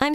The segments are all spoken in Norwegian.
I'm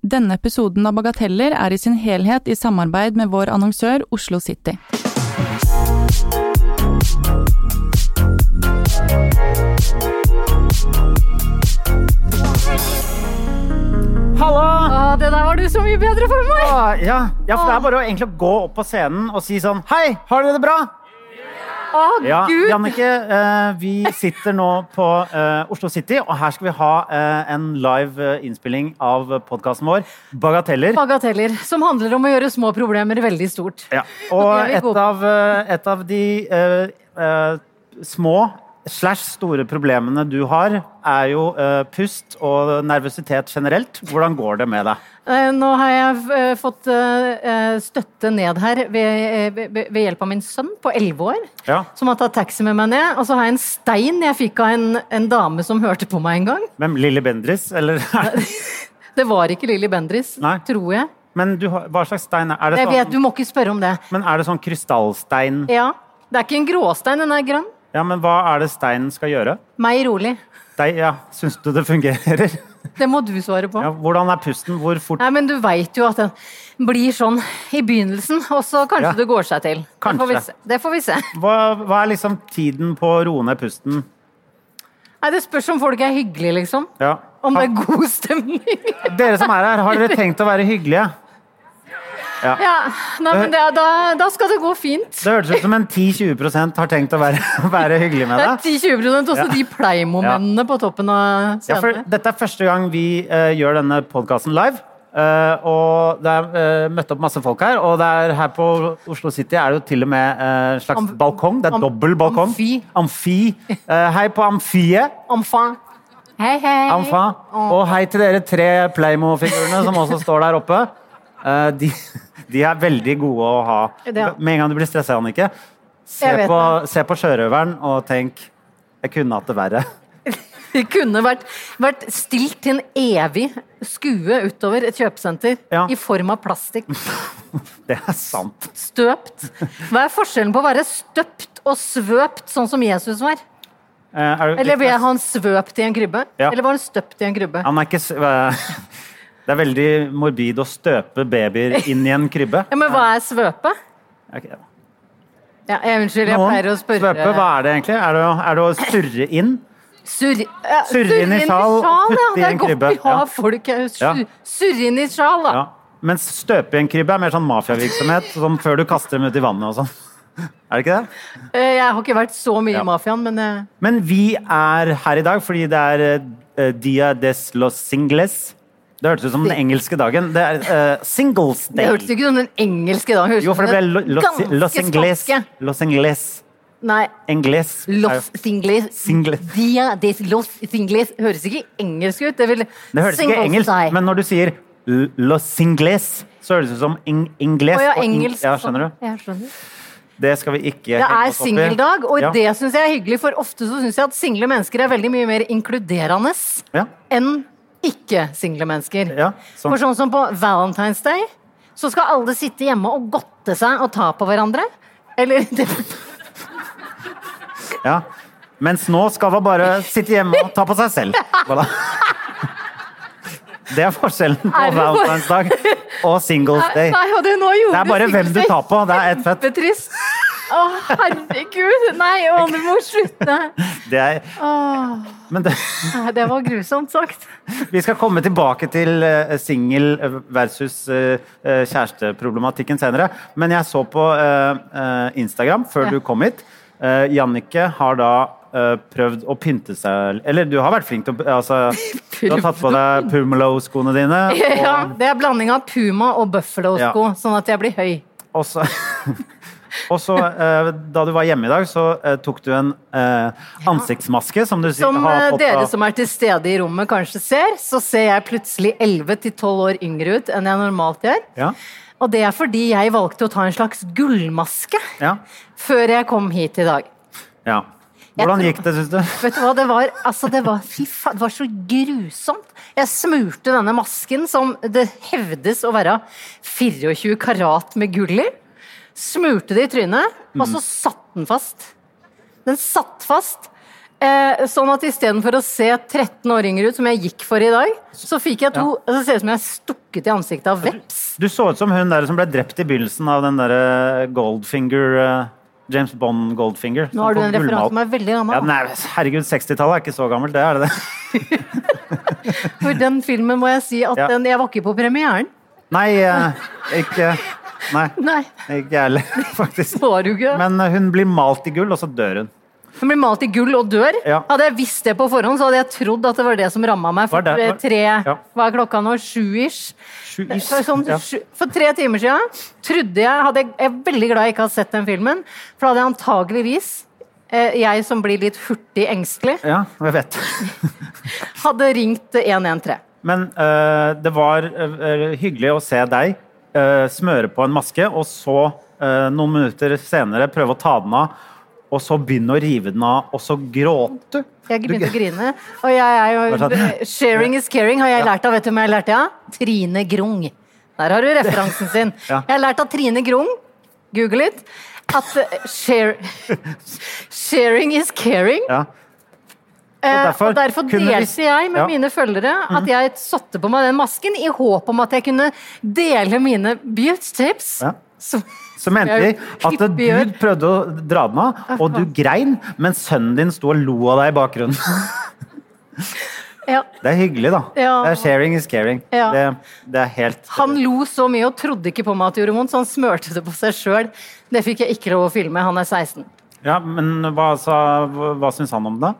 Denne episoden av Bagateller er i sin helhet i samarbeid med vår annonsør Oslo City. Halla! Å, det der var du så mye bedre for meg! Ah, ja. ja, for det er bare å egentlig gå opp på scenen og si sånn Hei, har dere det bra? Å, Ja, gud! Jannicke, eh, vi sitter nå på eh, Oslo City, og her skal vi ha eh, en live eh, innspilling av podkasten vår, Bagateller. Bagateller, som handler om å gjøre små problemer veldig stort. Ja. Og Det er vi et gode av, eh, et av de eh, eh, små slash store problemene du har, er jo eh, pust og nervøsitet generelt. Hvordan går det med deg? Eh, Nå har jeg eh, fått eh, eh, støtte ned her ved, eh, ved, ved hjelp av min sønn på 11 år, Ja. som har tatt taxi med meg ned. Og så har jeg en stein jeg fikk av en, en dame som hørte på meg en gang. Hvem? Lille Bendris, eller? Det var ikke Lilly Bendris, Nei. tror jeg. Men du, har- hva slags stein er er det? sånn- Jeg vet, Du må ikke spørre om det. Men er det sånn krystallstein? Ja, Det er ikke en gråstein, den er grønn. Ja, men hva er det steinen skal gjøre? Meg rolig. Dei, ja, syns du det fungerer? Det må du svare på. Ja, hvordan er pusten? Hvor fort? Nei, men du veit jo at den blir sånn i begynnelsen, og så kanskje Ja. det går seg til. Det får vi Kanskje. se. Det, får vi se. Hva, hva er liksom tiden på å roe ned pusten? Nei, det spørs om folk er hyggelige, liksom. Ja. Om det Har, er god stemning. dere som er her, har dere tenkt å være hyggelige? ja, nei, men det, er- da, da skal det gå fint. Det hørtes ut som en 10-20 har tenkt å være, være hyggelig med Det er deg. 10-20 også de pleiemomentene på toppen av Ja, for scenen. dette er første gang vi eh, gjør denne podkasten live. Eh, og det er eh, møtt opp masse folk her, og det er her på Oslo City er det jo til og med eh, en slags Am- balkong. Det er am- dobbel balkong. amfi. Amfi. Eh, hei på amfiet. Omfang. Hei, hei. Amfa. Og hei til dere tre Playmo-figurene som også står der oppe. Eh, de, de er veldig gode å ha. Ja. Med en gang du blir stressa, Annike, se Jeg vet på, se på sjørøveren og tenk Jeg kunne hatt det verre. Det kunne vært, vært stilt til en evig skue utover et kjøpesenter Ja. i form av plastikk. Det er sant. Støpt. Hva er forskjellen på å være støpt og svøpt, sånn som Jesus var? Eh, er du- Eller ble han svøpt i en krybbe? Ja. Eller var han støpt i en krybbe? Han er ikke s- eh, Det er veldig morbid å støpe babyer inn i en krybbe. Ja, men hva er svøpe? Ok. Ja, jeg, unnskyld, jeg Noen pleier å spørre Svøpe, hva er det egentlig? Er det, å, er det å surre inn? Surr- ja, Surre inn i sjal og putte ja. i Det en er godt krybbe. vi har Ja. folk her. Ja. Sur- Surre inn i sjal, da. Ja. Mens støpe i en krybbe er mer sånn mafiavirksomhet, som før du kaster dem ut i vannet og sånn. Er det ikke det? Eh, Jeg har ikke vært så mye i mafiaen, men eh, Men vi er her i dag fordi det er eh, Dia des los singles. Det hørtes ut som den engelske dagen. Det er eh, singles det day. hørtes ikke ut som den engelske da. Jo, for det ble lo, los, los ingles. spanske. Los ingles. Nei, Ingles. Los Singles. Single. Dia des Los Singles høres ikke engelsk ut. Det, vil, Det høres ikke Singles engelsk die. men når du sier l- los ingles, så høres det ut som ing ingles. Å ja, og ing- engelsk. ja, skjønner du? Jeg skjønner. Det skal vi ikke Det henge er oss opp i. singeldag, og ja. det syns jeg er hyggelig, for ofte så syns jeg at single mennesker er veldig mye mer inkluderende Ja. enn ikke-single mennesker. Ja, sant. For sånn som på Valentine's Day, så skal alle sitte hjemme og godte seg og ta på hverandre. Eller det, Ja. Mens nå skal man bare sitte hjemme og ta på seg selv. Voilà. Det er forskjellen på Er det for- Valentine's dag og Singles Nei, Day. nei, og det, nå gjorde Det er bare hvem du tar på. Det er et fett. Kjempetrist. Å, herregud. Nei, å, du må slutte. Det er, men det, Nei, Det var grusomt sagt. vi skal komme tilbake til eh, singel versus eh, eh, kjæresteproblematikken senere. Men jeg så på eh, eh, Instagram før Ja. du kom hit. Eh, Jannicke har da eh, prøvd å pynte seg Eller du har vært flink til å altså, Du har tatt på deg Pumelo-skoene dine. Ja, det er blanding av puma og buffalo-sko, Ja. sånn at jeg blir høy. Og så Og så, eh, da du var hjemme i dag, så eh, tok du en eh, ansiktsmaske som du sikkert Som har eh, fått dere av- som er til stede i rommet kanskje ser, så ser jeg plutselig 11-12 år yngre ut enn jeg normalt gjør. Ja. Og det er fordi jeg valgte å ta en slags gullmaske Ja. før jeg kom hit i dag. ja. Jeg Hvordan tror- gikk det, syns du? Vet du hva, det var, altså det var, fy faen, det var så grusomt. Jeg smurte denne masken som det hevdes å være 24 karat med gull i. Smurte det i trynet, og Mm. så satt den fast. Den satt fast. Eh, sånn at istedenfor å se 13 år yngre ut, som jeg gikk for i dag, så fikk jeg to Det ser ut som jeg er stukket i ansiktet av veps. Du så ut som hun der som ble drept i begynnelsen av den derre Goldfinger eh, James Bond Goldfinger. Nå har du en referanse som med er veldig ja, gammel. nei, Herregud, 60-tallet er ikke så gammelt, det er det det? For den filmen må jeg si at Ja. den, jeg var ikke på premieren. Nei, eh, ikke Nei, Nei, ikke jeg heller, faktisk. var du ikke? Men eh, hun blir malt i gull, og så dør hun. Hun blir malt i gull og dør. Ja. Hadde jeg visst det på forhånd, så hadde jeg trodd at det var det som ramma meg for Var det- var- tre ja. Hva er klokka nå? Sju-ish? Sju is. For, sånn, Ja. sju, for tre timer siden trodde jeg hadde, Jeg er veldig glad jeg ikke har sett den filmen, for da hadde jeg antageligvis eh, jeg som blir litt hurtig engstelig, Ja, jeg vet. hadde ringt 113. Men eh, det var eh, eh, hyggelig å se deg eh, smøre på en maske, og så eh, noen minutter senere prøve å ta den av, og så begynne å rive den av, og så gråte. Jeg begynte å grine. Og jeg er Hva jo sa du? Sharing is caring har jeg lært av. Vet du hvem jeg har lært det av? Trine Grung. Der har du referansen sin. Ja. Jeg har lært av Trine Grung, google litt, at eh, share, sharing is caring. Ja. Eh, derfor og derfor kunne vi- delte jeg med Ja. Mhm. mine følgere at jeg satte på meg den masken i håp om at jeg kunne dele mine beauty tips. Ja. Som- Så mente de jeg at hyppig gjør. du prøvde å dra den av, og du grein, men sønnen din sto og lo av deg i bakgrunnen. Ja. Det er hyggelig, da. Ja. Det er sharing is caring. Ja. Det, det er helt Han lo så mye og trodde ikke på meg at det gjorde vondt, så han smørte det på seg sjøl. Det fikk jeg ikke lov å filme. Han er 16. Ja, men hva, sa, hva, hva syns han om det?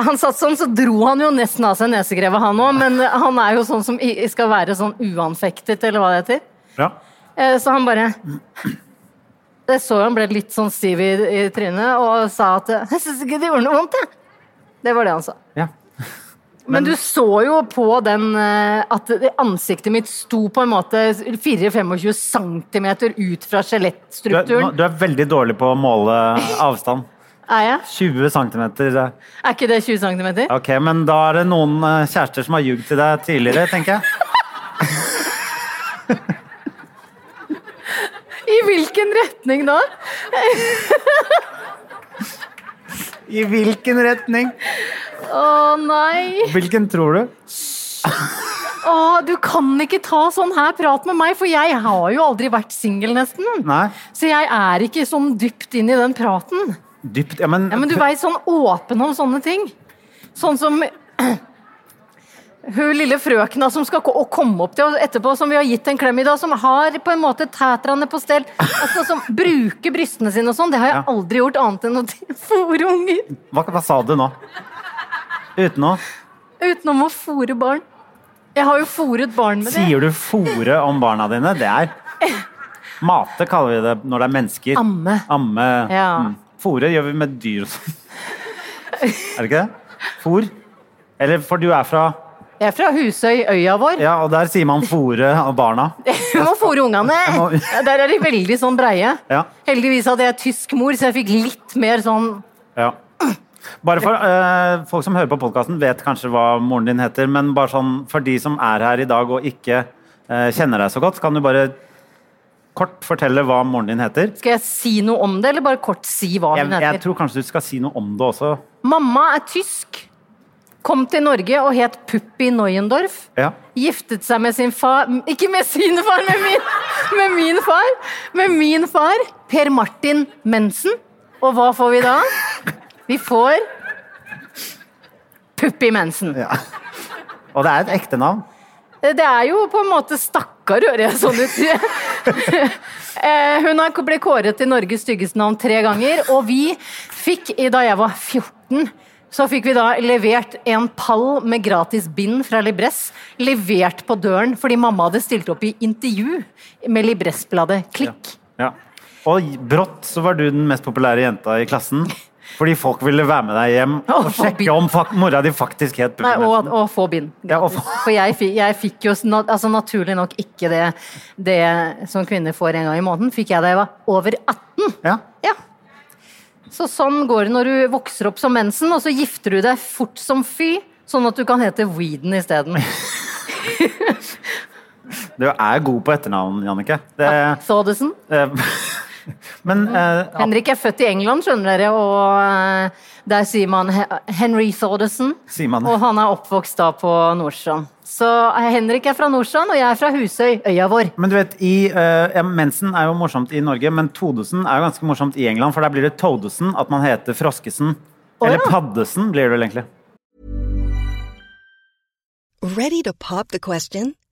Han satt sånn, så dro han jo nesten av seg nesegrevet, han òg. Men han er jo sånn som i- skal være sånn uanfektet, eller hva det heter. Ja. Eh, Så han bare Jeg så jo han ble litt sånn stiv i, i trynet og sa at 'Jeg syns ikke det gjorde noe vondt, jeg'. Det var det han sa. ja. Men du så jo på den eh, at det- ansiktet mitt sto på en måte 4-25 cm ut Du, er, fra skjelettstrukturen. du er veldig dårlig på å måle avstand. Er jeg? 20 cm. Er ikke det 20 cm? Ok, men da er det noen eh, kjærester som har ljugd til deg tidligere, tenker jeg. I hvilken retning da? I hvilken retning? Å nei! Hvilken tror du? Å, du kan ikke ta sånn her prat med meg, for jeg har jo aldri vært singel, nesten. Nei, Så jeg er ikke sånn dypt inn i den praten. dypt Ja, men, Ja, men du veit, sånn åpen om sånne ting. Sånn som hun lille frøkna som skal ko- å komme opp til oss etterpå, som vi har gitt en klem i dag, som har på en måte tætrene på stell, altså som bruker brystene sine og sånn, det har jeg Ja. aldri gjort annet enn å fôre unger. hva, hva sa du nå? Uten å Utenom å fôre barn. Jeg har jo fôret barn med det. Sier du 'fòre om barna dine'? Det er Mate kaller vi det når det er mennesker. Amme. Amme. Mm. Ja. Fòre gjør vi med dyr og sånn. Er det ikke det? Fòr. Eller for du er fra Jeg er fra Husøy, øya vår. Ja, og der sier man 'fòre av barna'. Hun må fôre ungene. må- Der er de veldig sånn breie. Ja. Heldigvis hadde jeg tysk mor, så jeg fikk litt mer sånn Ja. Bare for eh, Folk som hører på podkasten, vet kanskje hva moren din heter, men bare sånn, for de som er her i dag og ikke eh, kjenner deg så godt, kan du bare kort fortelle hva moren din heter? Skal jeg si noe om det, eller bare kort si hva Jeg, hun heter? jeg tror kanskje du skal si noe om det også. Mamma er tysk. Kom til Norge og het Puppi Neuendorf. Ja. Giftet seg med sin far Ikke med sin far, med min, med min far! Med min far, Per Martin Mensen. Og hva får vi da? Vi får Puppi Mensen. Og det er et ekte navn. Eh, Det er jo på en måte stakkar, hører jeg sånn ut. Eh, Hun har blitt kåret til Norges styggeste navn tre ganger, og vi fikk, i- da jeg var 14 så fikk vi da levert en pall med gratis bind fra Libress. Levert på døren fordi mamma hadde stilt opp i intervju med Libress-bladet Klikk. Ja. Og brått så var du den mest populære jenta i klassen. Fordi folk ville være med deg hjem og Og få sjekke bind. om fak- mora di faktisk het Nei, og, Puppenhesten. og få bind. Ja, og gratis. få- For jeg, fi- jeg fikk jo sna- altså, naturlig nok ikke det, det som kvinner får en gang i måneden. Fikk jeg da jeg var over 18. Ja. Ja. Så sånn går det når du vokser opp som mensen, og så gifter du deg fort som fy, sånn at du kan hete Weeden isteden. Eh. Du er god på etternavn, Jannicke. Det, Thodesen. eh, men eh, Henrik er født i England, skjønner dere, og eh, der sier man He- Henry Thodesen. Sier man det? Og han er oppvokst da på Nordstrand. Så eh, Henrik er fra Nordstrand, og jeg er fra Husøy, øya vår. Men du vet, i, eh, ja, Mensen er jo morsomt i Norge, men Todesen er jo ganske morsomt i England. For der blir det Todesen, at man heter Froskesen. Eller ja. Paddesen, blir det vel egentlig. Ready to pop the question?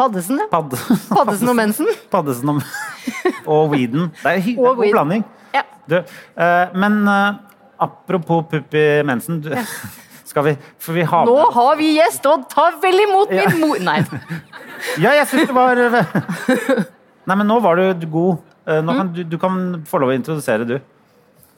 Paddesen, ja. Padd Paddesen og mensen. Paddesen og, og Weeden. Det er hy- det er Og god Weeden. blanding. Ja. Du, eh, men eh, apropos pupp i mensen du, Skal vi For vi har Nå har vi gjest, og ta vel imot min mor Nei. Ja, jeg syns det var eh, Nei, men nå var du god. Eh, Nå Mm. kan, du, du kan få lov å introdusere, du.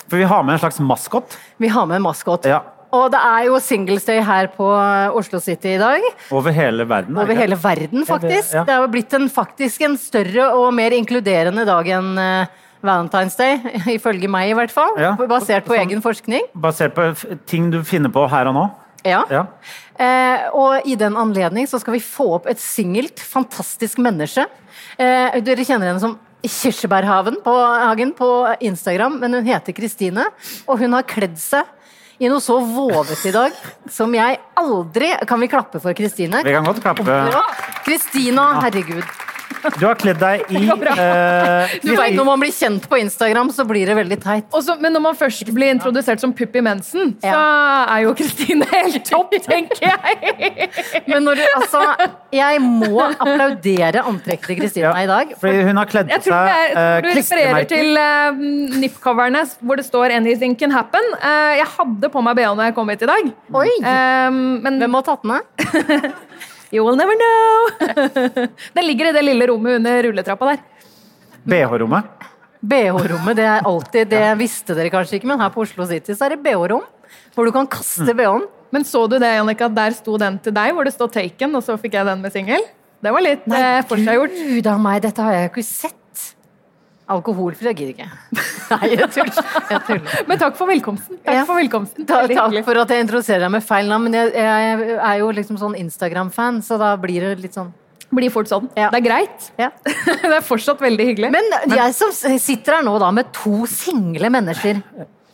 For vi har med en slags maskot. Vi har med en maskot. Ja. Og det er jo singlesday her på eh, Oslo City i dag. Over hele verden. er Over det ikke? hele verden, faktisk. ja. Det er jo blitt en, faktisk en større og mer inkluderende dag enn eh, Valentine's Day, ifølge meg i hvert fall. Ja. Sånn. Basert på egen forskning. Basert på f- ting du finner på her og nå. Ja. Ja. Eh, og i den anledning så skal vi få opp et singelt, fantastisk menneske. Eh, dere kjenner henne som Kirsebærhagen på, Hagen på Instagram, men hun heter Kristine. Og hun har kledd seg i noe så vovet i dag som jeg aldri Kan vi klappe for Kristine? Vi kan godt klappe. Kristina, herregud. Du har kledd deg i går bra. eh, Du vet, Når man blir kjent på Instagram, så blir det veldig teit. Og så- men når man først blir introdusert som Pippi Mensen, så er jo Kristine helt topp, tenker jeg. Men når du, altså, jeg må applaudere antrekket til Kristina i dag. For Fordi hun har kledd på Jeg tror seg det eh, er, du refererer klistremerker. til uh, NIP-coverne hvor det står 'Anything can happen'. Eh, jeg hadde på meg BH når jeg kom hit i dag. Oi! Eh, men Hvem har tatt den av? you will never know. Den ligger i det lille rommet under rulletrappa der. BH-rommet. BH-rommet, det er alltid Det visste dere kanskje ikke, men her på Oslo City så er det BH-rom. Hvor du kan kaste BH-en. Men så du det, Jannicke, at der sto den til deg, hvor det står 'Taken', og så fikk jeg den med singel? Det var litt uh, forseggjort. Gud a meg, dette har jeg jo ikke sett. Alkoholfri, jeg gidder ikke. Nei, jeg tuller. Jeg tuller. Men takk for velkomsten. Takk Ja. for velkomsten. Ta, Veldig takk hyggelig. for at jeg introduserer deg med feil navn, men jeg, jeg er jo liksom sånn Instagram-fan, så da blir det litt sånn Blir fort sånn. Ja. Det er greit. Ja. det er fortsatt veldig hyggelig. Men jeg som sitter her nå da med to single mennesker,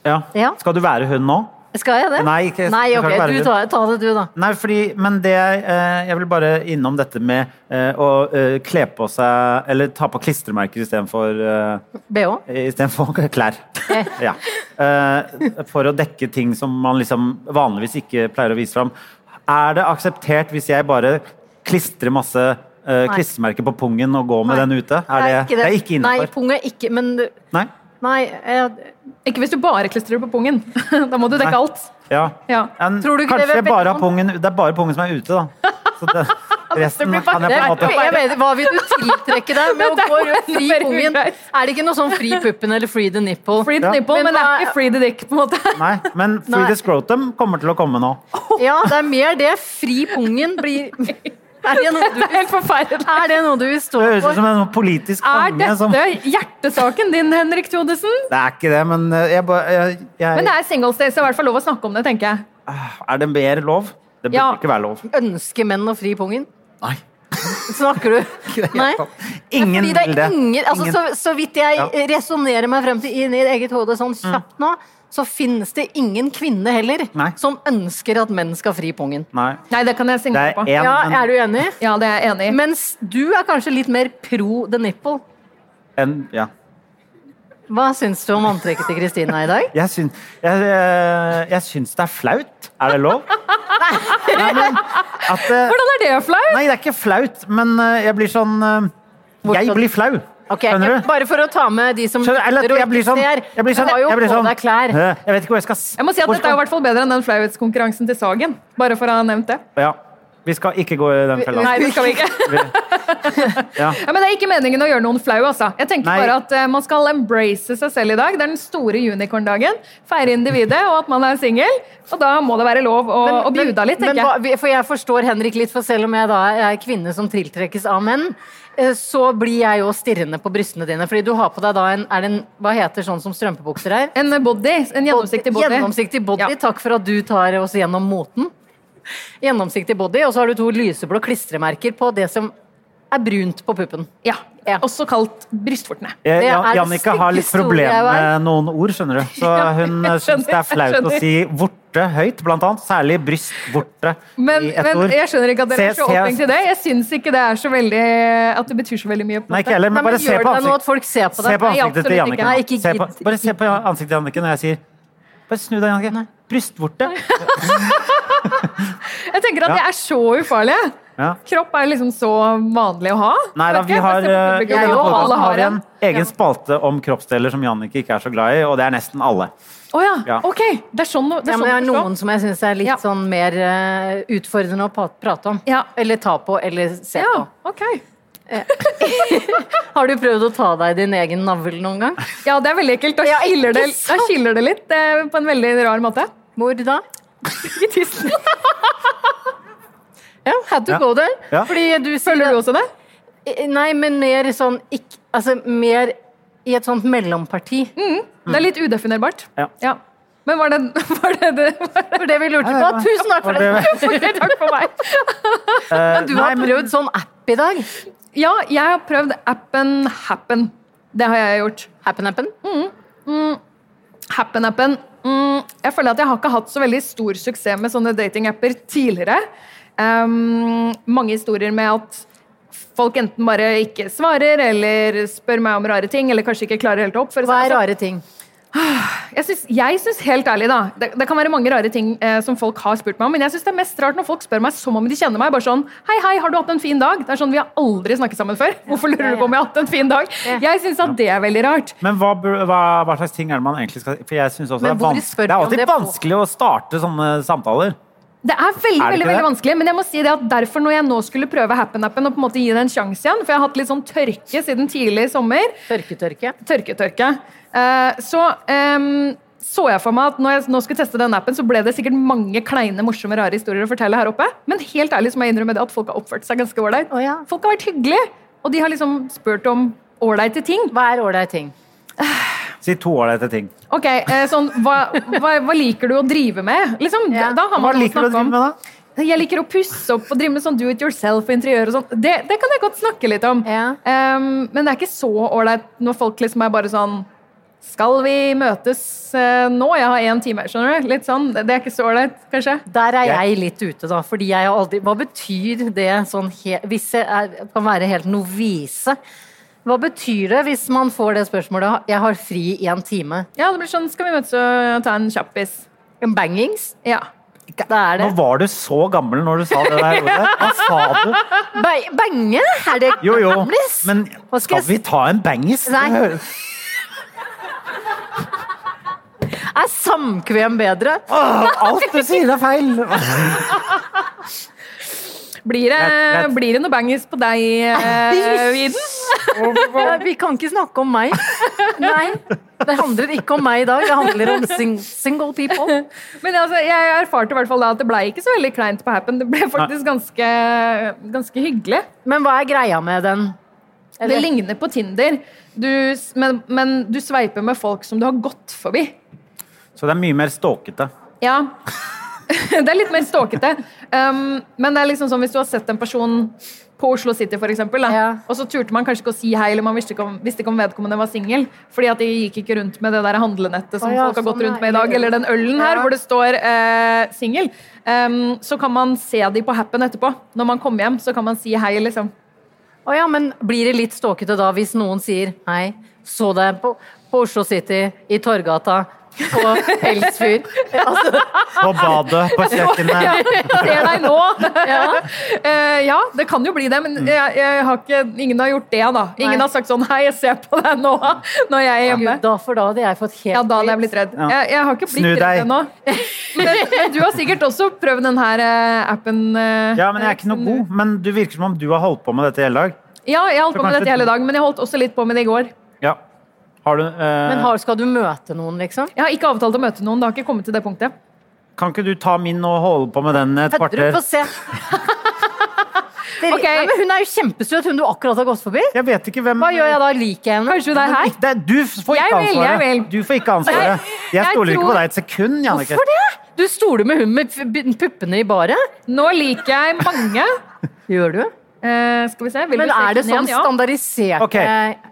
Ja. Ja. Skal du være hun nå? skal jeg det? Nei, ikke- Nei, skal ok, ikke være du det. tar, ta det du, da. Nei, fordi, men det jeg, eh, jeg vil bare innom dette med eh, å eh, kle på seg Eller ta på klistremerker istedenfor eh, BH. Istedenfor klær. Ja. Eh, For å dekke ting som man liksom vanligvis ikke pleier å vise fram. Er det akseptert hvis jeg bare klistrer masse eh, klistremerker på pungen og går med Nei. den ute? Er det, det er ikke Nei, innafor? pung er ikke Men du- Nei. Nei, eh, jeg Ikke hvis du bare klistrer på pungen. da må du dekke Nei. alt. Ja. Ja. En, Tror du ikke det kanskje vil jeg bare vekke har pungen Det er bare pungen som er ute, da. Så det, resten blir kan jeg på en Det måte er- jeg mener, hva vil du tiltrekke deg med å Dette er gå rundt jo fri enda mer pungen? ugreit. Er det ikke noe sånn fri puppen eller free the nipple? Free the Ja. nipple, Men men, det hva- er ikke free the dick, på en måte. Nei, men free Nei. the scrotum kommer til å komme nå. Ja, det er mer det. Fri pungen blir Er det noe du, Det er helt forferdelig. er det noe du vil stå Det høres ut for? som en politisk Er konge som dette hjertesaken din, Henrik Thodesen? Det er ikke det, men eh, jeg bare jeg, jeg, Men det er singles day, så det er i hvert fall lov å snakke om det, tenker jeg. Er det mer lov? Det burde Ja. ikke være lov. Ønske menn å fri pungen? Nei. Snakker du? Nei? Ingen Fordi det vil er det. ingen, altså, Ingen. Så, så vidt jeg Ja. Mm. resonnerer meg frem til i mitt eget hode sånn kjapt nå, så finnes det ingen kvinne heller Nei. som ønsker at menn skal fri pungen. Nei. Nei, det kan jeg Det signere er på. én, Ja, men er du enig? Ja, det er jeg enig i. Mens du er kanskje litt mer pro the nipple. en- ja. Hva syns du om antrekket til Kristina i dag? Jeg syns, jeg, eh, jeg syns det er flaut. Er det lov? Nei, men at, eh, Hvordan er det flaut? nei, det er ikke flaut, men eh, jeg blir sånn eh, Jeg Hvorfor- blir flau. Ok, Skjønner du? Bare for å ta med de som Skjønner, eller lytter at og jeg blir ikke sånn, ser. jeg blir sånn, Du har jo jeg blir på sånn deg klær. eh, Jeg vet ikke hvor jeg skal s- Jeg må si at hvor dette er jo skal- i hvert fall bedre enn den flauhetskonkurransen til Sagen. Bare for å ha nevnt det. Ja. Vi skal ikke gå i den fella. Nei, det skal vi ikke. Ja. Ja, men det er ikke meningen å gjøre noen flau, altså. Jeg tenker Nei. bare at eh, man skal embrace seg selv i dag. Det er den store unicorn-dagen. Feire individet og at man er singel. Og da må det være lov å, å bjuda litt, men tenker hva- jeg. vi- for jeg forstår Henrik litt, for selv om jeg da er kvinne som tiltrekkes av menn, eh, så blir jeg jo stirrende på brystene dine. Fordi du har på deg da en, er det en hva heter sånn som strømpebukser er? En body. En gjennomsiktig body. Gjennomsiktig body. Ja. Takk for at du tar oss gjennom moten. Gjennomsiktig body, og så har du to lyseblå klistremerker på det som er brunt på puppen. Ja. Ja. Også kalt brystvortene. Jeg, Det er det Jannicke har litt styggeste ordet problemer jeg med noen ord, skjønner du. Så Ja, jeg hun eh, syns det er skjønner, flaut jeg å si vorte høyt, blant annet. Særlig bryst, vorte Men, i ett men ord. jeg skjønner ikke at dere er Se- så se- opphengt i det. Jeg syns ikke det er så veldig At det betyr så veldig mye. på en Nei, måte. ikke heller, men Nei, bare men se gjør på deg nå at ansiktet. folk ser på Se deg. på Nei, ansiktet til absolutt Jannicke. ikke. Nei, ikke Se på, gidd. bare se på ansiktet til Jannicke når jeg sier Bare snu deg, Jannicke. Brystvorte. Jeg tenker at Ja. de er så ufarlige. Ja. Kropp er liksom så vanlig å ha. Nei da, Vet vi ikke, har, jeg ser på eh, i publikum, Jeg denne jo, og podcasten alle har har vi en en. egen spalte om kroppsdeler som Jannicke ikke er så glad i, og det er nesten alle. Å ja. Ja. ok. Det er sånn det Ja, men er sånn det er å forstå. noen som jeg syns er litt Ja. sånn mer eh, utfordrende å pa- prate om. Ja. Eller ta på, eller se Ja, på. ok. Har du prøvd å ta deg i din egen navl noen gang? Ja, det er veldig ekkelt. Da Ja, ikke skiller det, da sant? skiller det litt eh, på en veldig rar måte. Hvor da? I tissen. Ja, had to Ja. go there. Ja. Fordi du sier Føler du også det? Nei, men mer sånn ikk, Altså mer i et sånt mellomparti. Mm. Mm. Det er litt udefinerbart. Ja. Men var det var det, det, var det? For det vi lurte på. Tusen takk for det! det- Takk for meg. Eh, Du nei, har men- prøvd sånn app i dag. Ja, jeg har prøvd appen Happen. Det har jeg gjort. Mm, Happen-appen. Happen-appen. Mm, jeg føler at jeg har ikke hatt så veldig stor suksess med sånne datingapper tidligere. Ehm, mange historier med at folk enten bare ikke svarer, eller spør meg om rare ting, eller kanskje ikke klarer helt å oppføre seg. Hva er Altså, rare ting? jeg syns, jeg syns helt ærlig da, det, det kan være mange rare ting eh, som folk har spurt meg om, men jeg syns det er mest rart når folk spør meg som om de kjenner meg. bare sånn, hei, hei, har du hatt en fin dag? Det er sånn, Vi har aldri snakket sammen før. Hvorfor lurer du på om jeg har hatt en fin dag? Jeg syns at det er veldig rart. Men hva, bur- hva, hva slags ting er det man egentlig skal For jeg synes også det Men er, hvor vanskelig, spør det er vi om alltid det på? vanskelig å starte sånne samtaler. Det er veldig Er det veldig, ikke det? veldig vanskelig, men jeg må si det at derfor når jeg nå skulle prøve Happen-appen og på en måte gi det en sjanse igjen, for jeg har hatt litt sånn tørke siden tidlig i sommer, Tørketørke. tørketørke, eh, så em, så jeg for meg at når jeg nå skulle teste den appen, så ble det sikkert mange kleine, morsomme, rare historier å fortelle her oppe, men helt ærlig så må jeg innrømme det at folk har oppført seg ganske ålreit. Å ja. Folk har vært hyggelige, og de har liksom spurt om ålreite ting. Hva er ålreit ting? Si to ålreite ting. Ok, eh, sånn, hva, hva, hva liker du å drive med? Liksom, Ja. da har Hva man noe å liker du å snakke om. drive med, da? Jeg liker å pusse opp og drive med sånn do it yourself og interiør og sånn. Det, det kan jeg godt snakke litt om. Ja. Ehm, men det er ikke så ålreit når folk liksom er bare sånn Skal vi møtes eh, nå? Jeg har én time, skjønner du? Litt sånn. Det, det er ikke så ålreit, kanskje. Der er Jeg- jeg litt ute, da. Fordi jeg har aldri Hva betyr det sånn he, Hvis jeg er, kan være helt novise. Hva betyr det hvis man får det spørsmålet 'Jeg har fri i en time'? Ja, det blir sånn Skal vi møtes og ta en kjappis? En bangings? Ja. Da er Nå det var du så gammel når du sa det der ordet. Hva sa du? ba Bange? Er det Jo, jo. gamlis? Men Hva skal skal vi jeg ta en bangis? Nei. Er samkvem bedre? Åh, alt du sier er feil! Blir det, Jeg- jeg- blir det noe bangers på deg, eh, Viden? Ja, Vi kan ikke snakke om meg. Nei, det handler ikke om meg i dag. Det handler om sing single people. Men altså, jeg erfarte i hvert fall da at det ble ikke så veldig kleint på Happen. Det ble faktisk ganske, ganske hyggelig. Men hva er greia med den? Det ligner på Tinder, du, s- men, men du sveiper med folk som du har gått forbi. Så det er mye mer stalkete. Ja. det er litt mer stalkete. Um, men det er liksom sånn hvis du har sett en person på Oslo City, for eksempel, da, Ja. og så turte man kanskje ikke å si hei, eller man visste ikke om, visste ikke om vedkommende var singel, fordi at de gikk ikke rundt med det der handlenettet som Å ja, folk har gått sånn rundt med i er dag, det. eller den ølen her Ja. hvor det står eh, singel, um, så kan man se de på Happen etterpå. Når man kommer hjem, så kan man si hei, liksom. Å ja, men blir det litt stalkete da hvis noen sier hei, så deg på, på Oslo City, i Torgata, på Elsfyr? Altså, På badet, på kjøkkenet. Ser deg nå! Eh, ja, det kan jo bli det, men Mm. jeg, jeg har ikke, ingen har gjort det, da. Ingen Nei. har sagt sånn 'hei, jeg ser på deg nå' når jeg er hjemme. Gud, da for da hadde jeg fått helt Ja, da hadde jeg blitt redd. Jeg, jeg har ikke Snu blitt redd deg. ennå. Men, men du har sikkert også prøvd den her eh, appen. eh, Ja, men jeg er ikke noe god. Men du virker som om du har holdt på med dette hele dag. Ja, jeg holdt Så på med kanskje- dette hele dagen, men jeg holdt også litt på med det i går. Ja. Har du eh, Men har, skal du møte noen, liksom? Jeg har ikke avtalt å møte noen. Det har ikke kommet til det punktet. Kan ikke du ta min og holde på med den et Fedderud, kvarter? få se. Dere, Ok. nei, men hun er jo kjempesøt, hun du akkurat har gått forbi. Jeg vet ikke hvem Hva gjør jeg da? Liker jeg henne? Kanskje hun er her? Det, du får Jeg ikke vil, jeg ansvaret. vil. Du får ikke ansvaret. jeg Jeg stoler ikke tror- på deg et sekund, Jannicke. Hvorfor det? Du stoler med hun med f- puppene i baret. Nå liker jeg mange. Gjør du? Eh, skal vi se. Vil Men du se er det kvinnen sånn igjen? ja. standardisert Ok,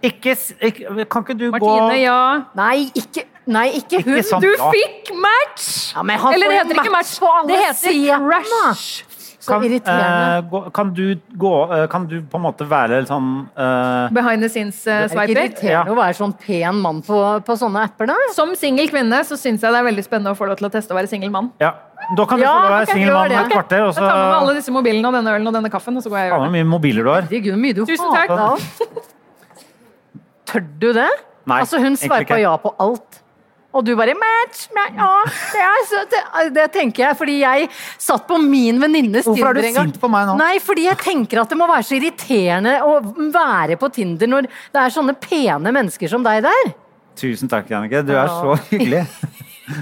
ikke, s- ikke Kan ikke du Martine, gå ja. Nei, ikke, nei, ikke hun. Ikke sånn. Du Ja. fikk match! Ja, men han Eller får det jo heter ikke match. match på alle Det heter sidene. crush. Så kan, irriterende. eh, gå- kan du gå eh, Kan du på en måte være litt sånn eh, Behind the det er ikke scenes-sveiper. irriterende å være sånn pen mann på, på sånne apper, da. Som singel kvinne så syns jeg det er veldig spennende å få lov til å teste å være singel mann. Ja. Da kan du få Ja, lov til å være ok, singel gjør mann det. et kvarter, og Jeg så tar med meg alle Faen, disse mobilene og denne ølen og denne kaffen, og så går jeg og gjør det. hvor mye mobiler du har. Herregud, hvor mye du Tusen hater takk. alt. Tør du det? Nei, altså, hun egentlig svarer på ikke. ja på alt. Og du bare match, match, ja, det, er så, det, det tenker jeg, fordi jeg satt på min venninnes Hvorfor er du Tinder en gang. sint på meg nå? Nei, fordi jeg tenker at det må være så irriterende å være på Tinder når det er sånne pene mennesker som deg der. Tusen takk, Jannicke. Du er så hyggelig.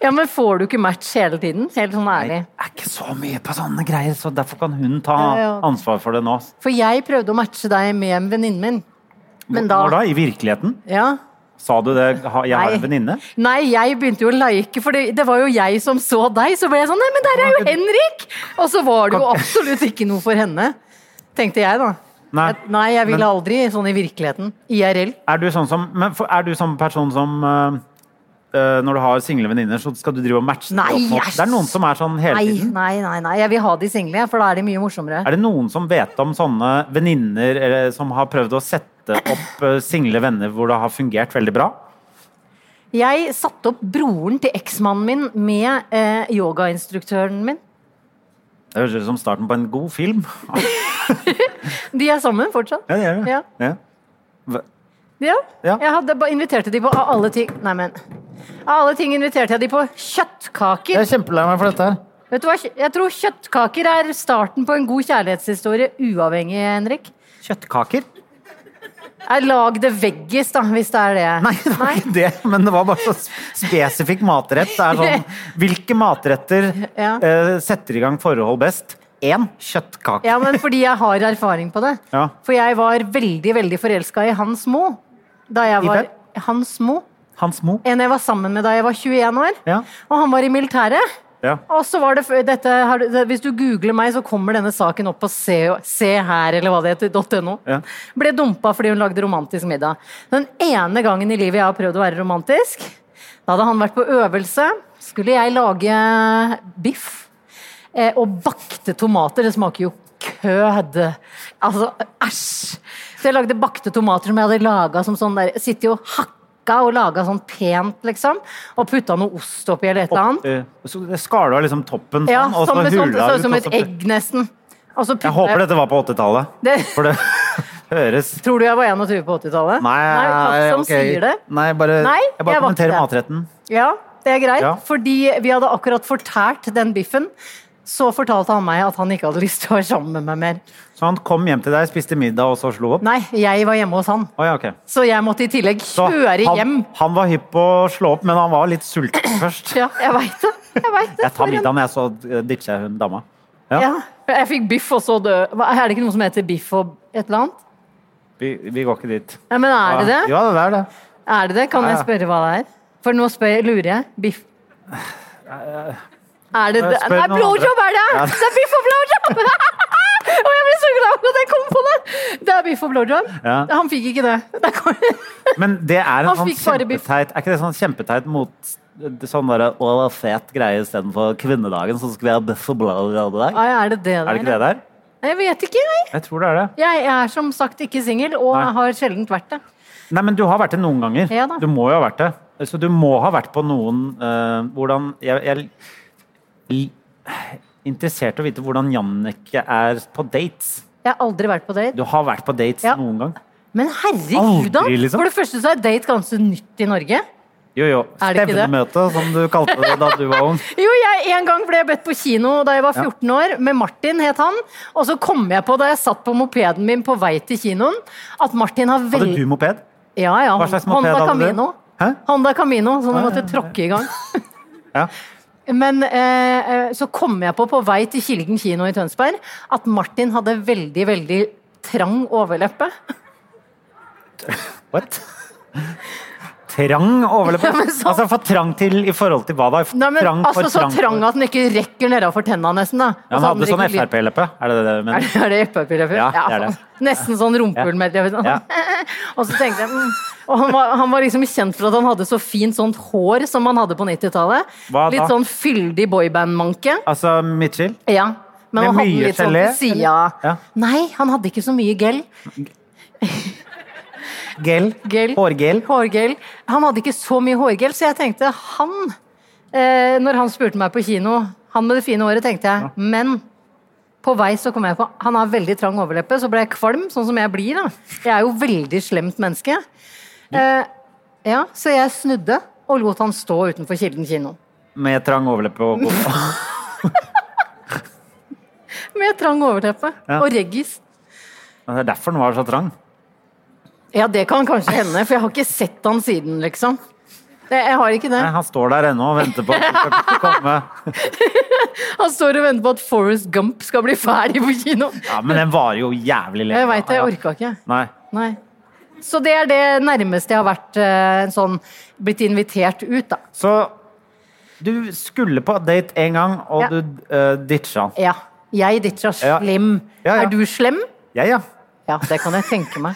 Ja, men får du ikke match hele tiden? Helt sånn Nei, ærlig. Jeg er ikke så mye på sånne greier, så derfor kan hun ta Ja, ja. ansvar for det nå. For jeg prøvde å matche deg med en venninnen min. Men da, Når da? I virkeligheten? Ja. Sa du det? Ha- Jeg har Nei. en venninne? Nei, jeg begynte jo å like, for det, det var jo jeg som så deg. Så ble jeg sånn Nei, men der er jo Henrik! Og så var det jo absolutt ikke noe for henne. Tenkte jeg, da. Nei. At, nei, jeg ville Men- aldri sånn i virkeligheten. IRL. Er du sånn som men for- Er du sånn person som eh, eh, når du har single venninner, så skal du drive og matche Nei, dem opp mot yes. Det er noen som er sånn hele Nei, tiden. nei, nei. nei. Jeg vil ha de single, for da er de mye morsommere. Er det noen som vet om sånne venninner eller som har prøvd å sette opp eh, single venner hvor det har fungert veldig bra? Jeg satte opp broren til eksmannen min med eh, yogainstruktøren min. Det høres ut som starten på en god film. De er sammen fortsatt. Ja, det gjør det. Ja. Ja. Ja. Ja. Jeg hadde bare inviterte de på av alle ting Nei, men Av alle ting inviterte jeg de på kjøttkaker. Jeg er kjempelei meg for dette her. Vet du hva? Jeg tror kjøttkaker er starten på en god kjærlighetshistorie, uavhengig, Henrik. Kjøttkaker? Nei, Lag det veggis, da, hvis det er det. Nei, det var ikke det, men det var bare så spesifikk matrett. Det er sånn, Hvilke matretter Ja. eh, setter i gang forhold best? Én kjøttkake. Ja, men fordi jeg har erfaring på det. Ja. For jeg var veldig, veldig forelska i Hans Mo. Da jeg I var hvem? Hans Mo. Hans Mo. En jeg var sammen med da jeg var 21 år. Ja. Og han var i militæret. Ja. Og så var det f- dette, har du- det- Hvis du googler meg, så kommer denne saken opp på se, se her, eller hva det heter, .no. Ja. Ble dumpa fordi hun lagde romantisk middag. Den ene gangen i livet jeg har prøvd å være romantisk, da hadde han vært på øvelse, skulle jeg lage biff. Eh, og bakte tomater. Det smaker jo kødd. Altså, æsj! Så jeg lagde bakte tomater som jeg hadde laga som sånn der Sitter jo hakka og laga sånn pent, liksom. Og putta noe ost oppi eller et eller annet. Opp, eh, så det skar du av liksom toppen sånn, Ja, og så som, et hula sånt, det så ut ut, som og et så- egg, nesten. Og så Jeg putta håper dette var på 80-tallet, Det- for det høres Tror du jeg var 21 på 80-tallet? Nei, takk som ok. sier det. Nei, bare, Nei, jeg bare jeg var kommenterer ikke matretten. Ja, det er greit. Ja. Fordi vi hadde akkurat fortært den biffen. Så fortalte han meg at han ikke hadde lyst til å være sammen med meg mer. Så han Sånn, kom hjem til deg, spiste middag og så slo opp? Nei, jeg var hjemme hos han, Å, ja, ok. så jeg måtte i tillegg Så kjøre han, hjem. han var hypp på å slå opp, men han var litt sulten først. Ja, jeg veit det. Jeg vet det. Jeg tar For en- middagen, jeg, så eh, ditcher jeg hun dama. Ja. Jeg fikk biff og så dø. Hva- Er det ikke noe som heter biff og et eller annet? Vi, vi går ikke dit. Ja, men er det det? Ja, det er det. Er det det? Kan jeg ja. spørre hva det er? For nå spør, lurer jeg. Biff. Er jeg det det? Eh, spør Nei, noen blowjob er det! Ja. Det er biff og blowjob! Og jeg ble så glad for at jeg kom på det! Det er biff og blowjob. Ja. Han fikk ikke det. Der kom... Men det er en Han sånn fikk bare biff. kjempeteit Er ikke det sånn kjempeteit mot sånn derre å, hva fet greie istedenfor kvinnedagen, så skal vi ha biff og bla, bla, bla i dag? Nei, er det det Er det ikke det der? Jeg vet ikke, jeg. Jeg tror det er det. Jeg er som sagt ikke singel, og Nei. har sjelden vært det. Nei, men du har vært det noen ganger. Ja da. Du må jo ha vært det. Så du må ha vært på noen eh, Hvordan Jeg, jeg li- interessert i å vite hvordan Jannicke er på dates. Jeg har aldri vært på date. Du har vært på dates Ja. noen gang? Men herregud, da! Aldri, liksom. For det første så er date ganske nytt i Norge. Jo, jo. Er det ikke det? Stevnemøte, som du kalte det da du var ung. Jo, jeg, En gang ble jeg bedt på kino da jeg var 14 år, med Martin het han. Og så kom jeg på da jeg satt på mopeden min på vei til kinoen, at Martin har Hadde du veldig moped? ja, ja, Hva slags moped Honda hadde du? Camino. Hæ? Honda Camino, så du måtte tråkke i gang. Ja. Men eh, eh, så kom jeg på på vei til Kilden kino i Tønsberg at Martin hadde veldig, veldig trang overleppe. What? Trang overleppe? Altså for trang til i forhold til hva da? Nei, men, trang for altså Så for- trang at den ikke rekker nedafor tenna, nesten. da. Altså, ja, Og Han så hadde sånn ikke lyd. Frp-leppe, er det det du Er mener? det, er det Frp-leppe? Ja, det er det. faen. Nesten sånn rumpehull med sånn. Ja. Og så tenkte jeg mm. Og han var, han var liksom kjent for at han hadde så fint sånt hår som han hadde på 90-tallet. Hva da? Litt sånn fyldig boyband-manke. Altså Mitchell? Ja. Men Med han hadde mye litt sånn gelé, på sida. Ja. Nei, han hadde ikke så mye gel. Gel? Gel. Hårgel? Hårgel. Han hadde ikke så mye hårgel, så jeg tenkte han eh, Når han spurte meg på kino, han med det fine håret, tenkte jeg, men på vei så kom jeg på Han har veldig trang overleppe, så ble jeg kvalm, sånn som jeg blir. da. Jeg er jo veldig slemt menneske. Eh, ja, Så jeg snudde og lot han stå utenfor Kilden kino. Med trang overleppe og Med trang overteppe Ja. og reggis. Men Altså, Det er derfor den var så trang. Ja, det kan kanskje hende, for jeg har ikke sett han siden, liksom. Jeg, jeg har ikke det. Nei, han står der ennå og venter på at den skal komme. Han står og venter på at Forrest Gump skal bli ferdig på kino. Ja, Men den varer jo jævlig lenge. Jeg veit det, jeg Ja. orka ikke. Nei. Nei. Så det er det nærmeste jeg har vært eh, en sånn blitt invitert ut, da. Så du skulle på date én gang, og Ja. du eh, ditcha han. Ja. Jeg ditcha Ja. slem. Ja, ja. Er du slem? Jeg, ja. Ja, det kan jeg tenke meg.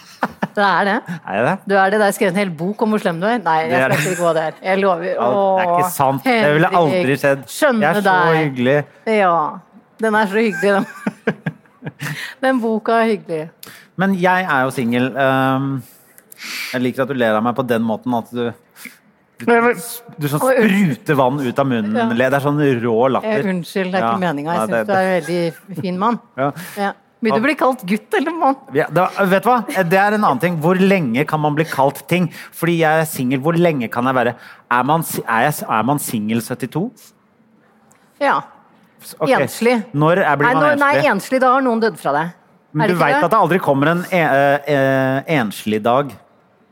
Det er det. Er jeg det? Du er det. Det er skrevet en hel bok om hvor slem du er. Nei, Det jeg er skal det. ikke gå der. Jeg lover. Al- Det er ikke Åh, sant. Det ville aldri Henrik. skjedd. Skjønne jeg er så deg. hyggelig. Ja. Den er så hyggelig, den. Den boka er hyggelig. Men jeg er jo singel. ehm, jeg liker at du ler av meg på den måten at du Du sånn Oi, unnskyld. spruter vann ut av munnen. Ja. le. Det er sånn rå Eh, latter. Unnskyld, det er Ja. ikke meninga. Ja, Jeg syns det- du er en veldig fin mann. Ja. Ja. Vil du bli kalt gutt eller mann? Ja, det var, vet du hva? Eh, Det er en annen ting. Hvor lenge kan man bli kalt ting? Fordi jeg er singel, hvor lenge kan jeg være? Er man, si- er jeg- er man singel 72? Ja. Ok. Enslig. Når er, blir Nei, nå, man nei, enslig? enslig, da har noen dødd fra deg. Men er du det ikke veit det? at det aldri kommer en e eh, enslig dag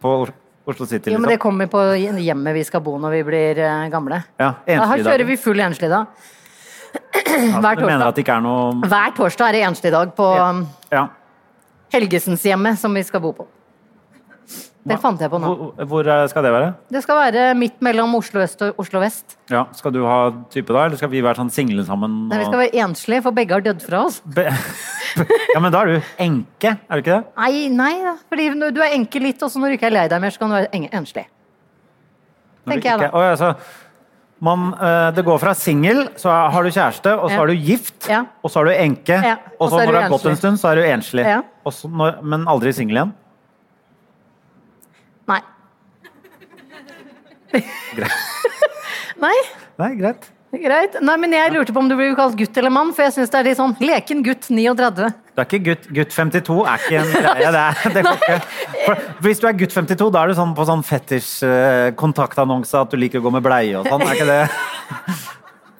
på Os- Oslo City? Jo, Liksom. men det kommer på hjemmet vi skal bo når vi blir eh, gamle. Ja, Ja, her enslig dag. kjører vi full enslig da. Hver Du mener torsdag. at det ikke er noe Hver torsdag er det enslig dag på um, ja. Helgesenshjemmet som vi skal bo på. Det fant jeg på nå. hvor, hvor eh, skal det være? Det skal være midt mellom Oslo øst og Oslo vest. Ja, Skal du ha type da, eller skal vi være sånn single sammen? Nei, vi skal være enslige, for begge har dødd fra oss. Be- ja, men da er du enke, er du ikke det? Nei, nei, da. fordi når du er enkel litt, og så når du ikke er lei deg mer, så kan du være eng- enslig. Når du Tenker jeg da. ikke- Å, ja, så man, eh, det går fra singel, så har du kjæreste, og så Ja. er du gift, Ja. og så er du enke. Ja, Og så når det har gått en enslig. stund, så er du enslig. Ja. Og så når, men aldri singel igjen. Nei. nei, Nei, greit. greit. Nei, men jeg lurte på om du blir kalt gutt eller mann, for jeg syns det er litt sånn leken gutt 39. Du er ikke gutt, gutt 52 er ikke en greie. Det er, det går ikke. For, hvis du er gutt 52, da er du sånn eh, på sånn fetisj-kontaktannonse at du liker å gå med bleie og sånn. Er ikke det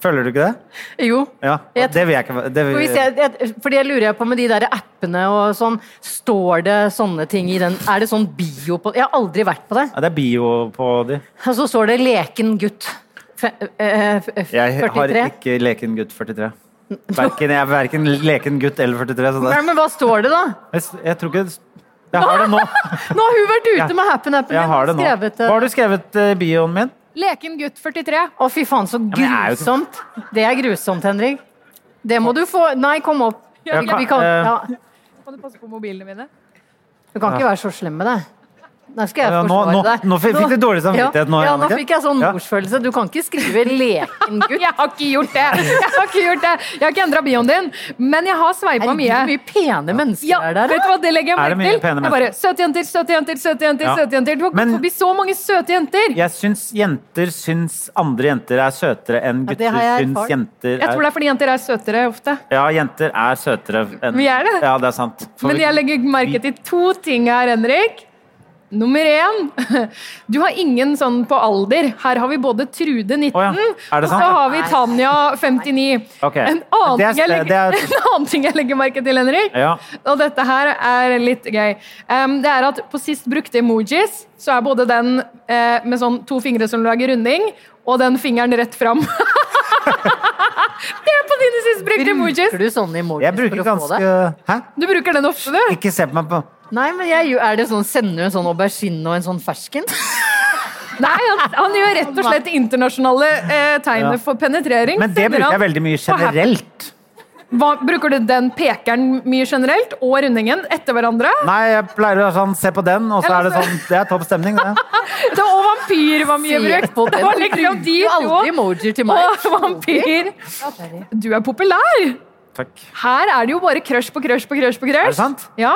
Føler du ikke det? Jo. Ja, Jeg- det vil jeg ikke det vil, For Hvis jeg, jeg, fordi jeg lurer på med de der appene og sånn, står det sånne ting i den Er det sånn bio på Jeg har aldri vært på det. ja, Det er bio på de. Og så står det 'leken gutt'. Fe- eh, f- Jeg har 43. ikke leken gutt 43. Verken, jeg er verken leken gutt eller 43. Så det, Nei, men hva står det, da? jeg, jeg tror ikke Jeg har det nå. Nå har hun vært ute Jeg- med happen-appen Jeg har det nå. skrevet eh, Hva har du skrevet i bioen min? Leken gutt 43. Å, fy faen, så jeg er jo- grusomt. Det er grusomt, Henrik. Det må du få Nei, kom opp. Ja, Vi- vi kan- kan, eh, ja. Kan du passe på mobilene mine? Du kan ikke være så slem med deg. Nå skal jeg Ja, nå- forsvare nå- deg. nå fikk- fikk du dårlig samvittighet ja, nå, Ja, nå Jannicke. fikk jeg sånn Ja. morsfølelse. Du kan ikke skrive 'leken gutt'. Jeg har ikke gjort det! Jeg har ikke gjort det. Jeg har ikke endra bioen din, men jeg har sveipa Herregud, mye. hvor mye pene mennesker Ja, er der. vet du hva, det legger jeg Er det merke mye til. pene Jeg bare, Søte jenter, søte jenter, søte jenter. Ja. søte jenter. Du har gått Men- forbi så mange søte jenter! Jeg syns jenter syns andre jenter er søtere enn Ja, gutter det har jeg syns erfart. jenter Jeg tror det er fordi jenter er søtere ofte. Ja, jenter er søtere enn Vi er det. Ja, det er sant. For Men vi- jeg legger merke til to ting her, Henrik. Nummer én, du har ingen sånn på alder. Her har vi både Trude 19, Å ja, er og det så sant? har vi Tanja 59. Ok, En, annen det er- ting jeg legger, det er- en annen ting jeg legger merke til, Henrik, Ja. og dette her er litt gøy, Em, det er at på sist brukte emojis, så er både den eh, med sånn to fingre som lager runding, og den fingeren rett fram. det er på dine sist brukte emojis. Bruker du sånne emojis jeg bruker for å få ganske det? Hæ? Du bruker den ofte, du. Ikke se på meg på Nei, men jeg, gjør- er det sånn, Sender du en sånn aubergine og en sånn fersken? Nei, han, han gjør rett og slett internasjonale eh, tegner Ja. for penetrering. Men det sender bruker jeg han veldig mye på Happn. generelt. Hva, bruker du den pekeren mye generelt, og rundingen etter hverandre? Nei, jeg pleier å være sånn Se på den, og så er det sånn Det er topp stemning, det. Det, og vampyr var mye Se brukt. på den. Det var liksom de Du bruker to. aldri emojier til meg. Og vampyr. Du er populær! Takk. Her er det jo bare crush på crush på crush på crush. Er det sant? Eh, Ja.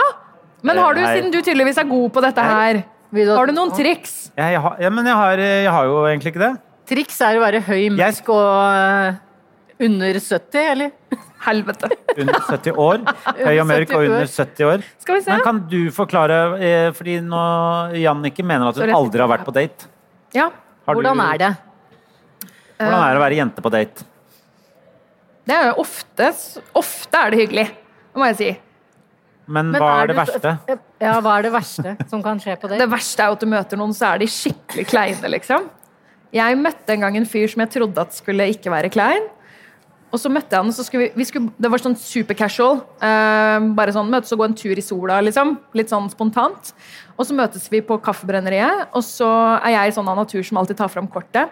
Men har du, Nei. siden du tydeligvis er god på dette her, Vil du ha- har du noen triks? Jeg, jeg har, ja, men jeg har, eh, jeg har jo egentlig ikke det. Triks er å være høy, Jeg mørk sk- og eh, under 70, eller? Helvete. Under 70 år. Høy og mørk og under 70 år. Skal vi se. Men kan du forklare eh, Fordi nå Jannicke mener at hun aldri har vært på date. Ja. Har du- Hvordan er det? Hvordan Eh. er det å være jente på date? Det er jo ofte, ofte er det hyggelig, det må jeg si. Men, Men hva er du- det verste? eh, Ja, hva er det verste som kan skje på Det det? verste er jo at du møter noen, så er de skikkelig kleine, liksom. Jeg møtte en gang en fyr som jeg trodde at skulle ikke være klein. Og så møtte jeg han, og så skulle vi, vi skulle, det var sånn super casual. Eh, bare sånn, møtes og gå en tur i sola, liksom. Litt sånn spontant. Og så møtes vi på kaffebrenneriet, og så er jeg sånn av natur som alltid tar fram kortet.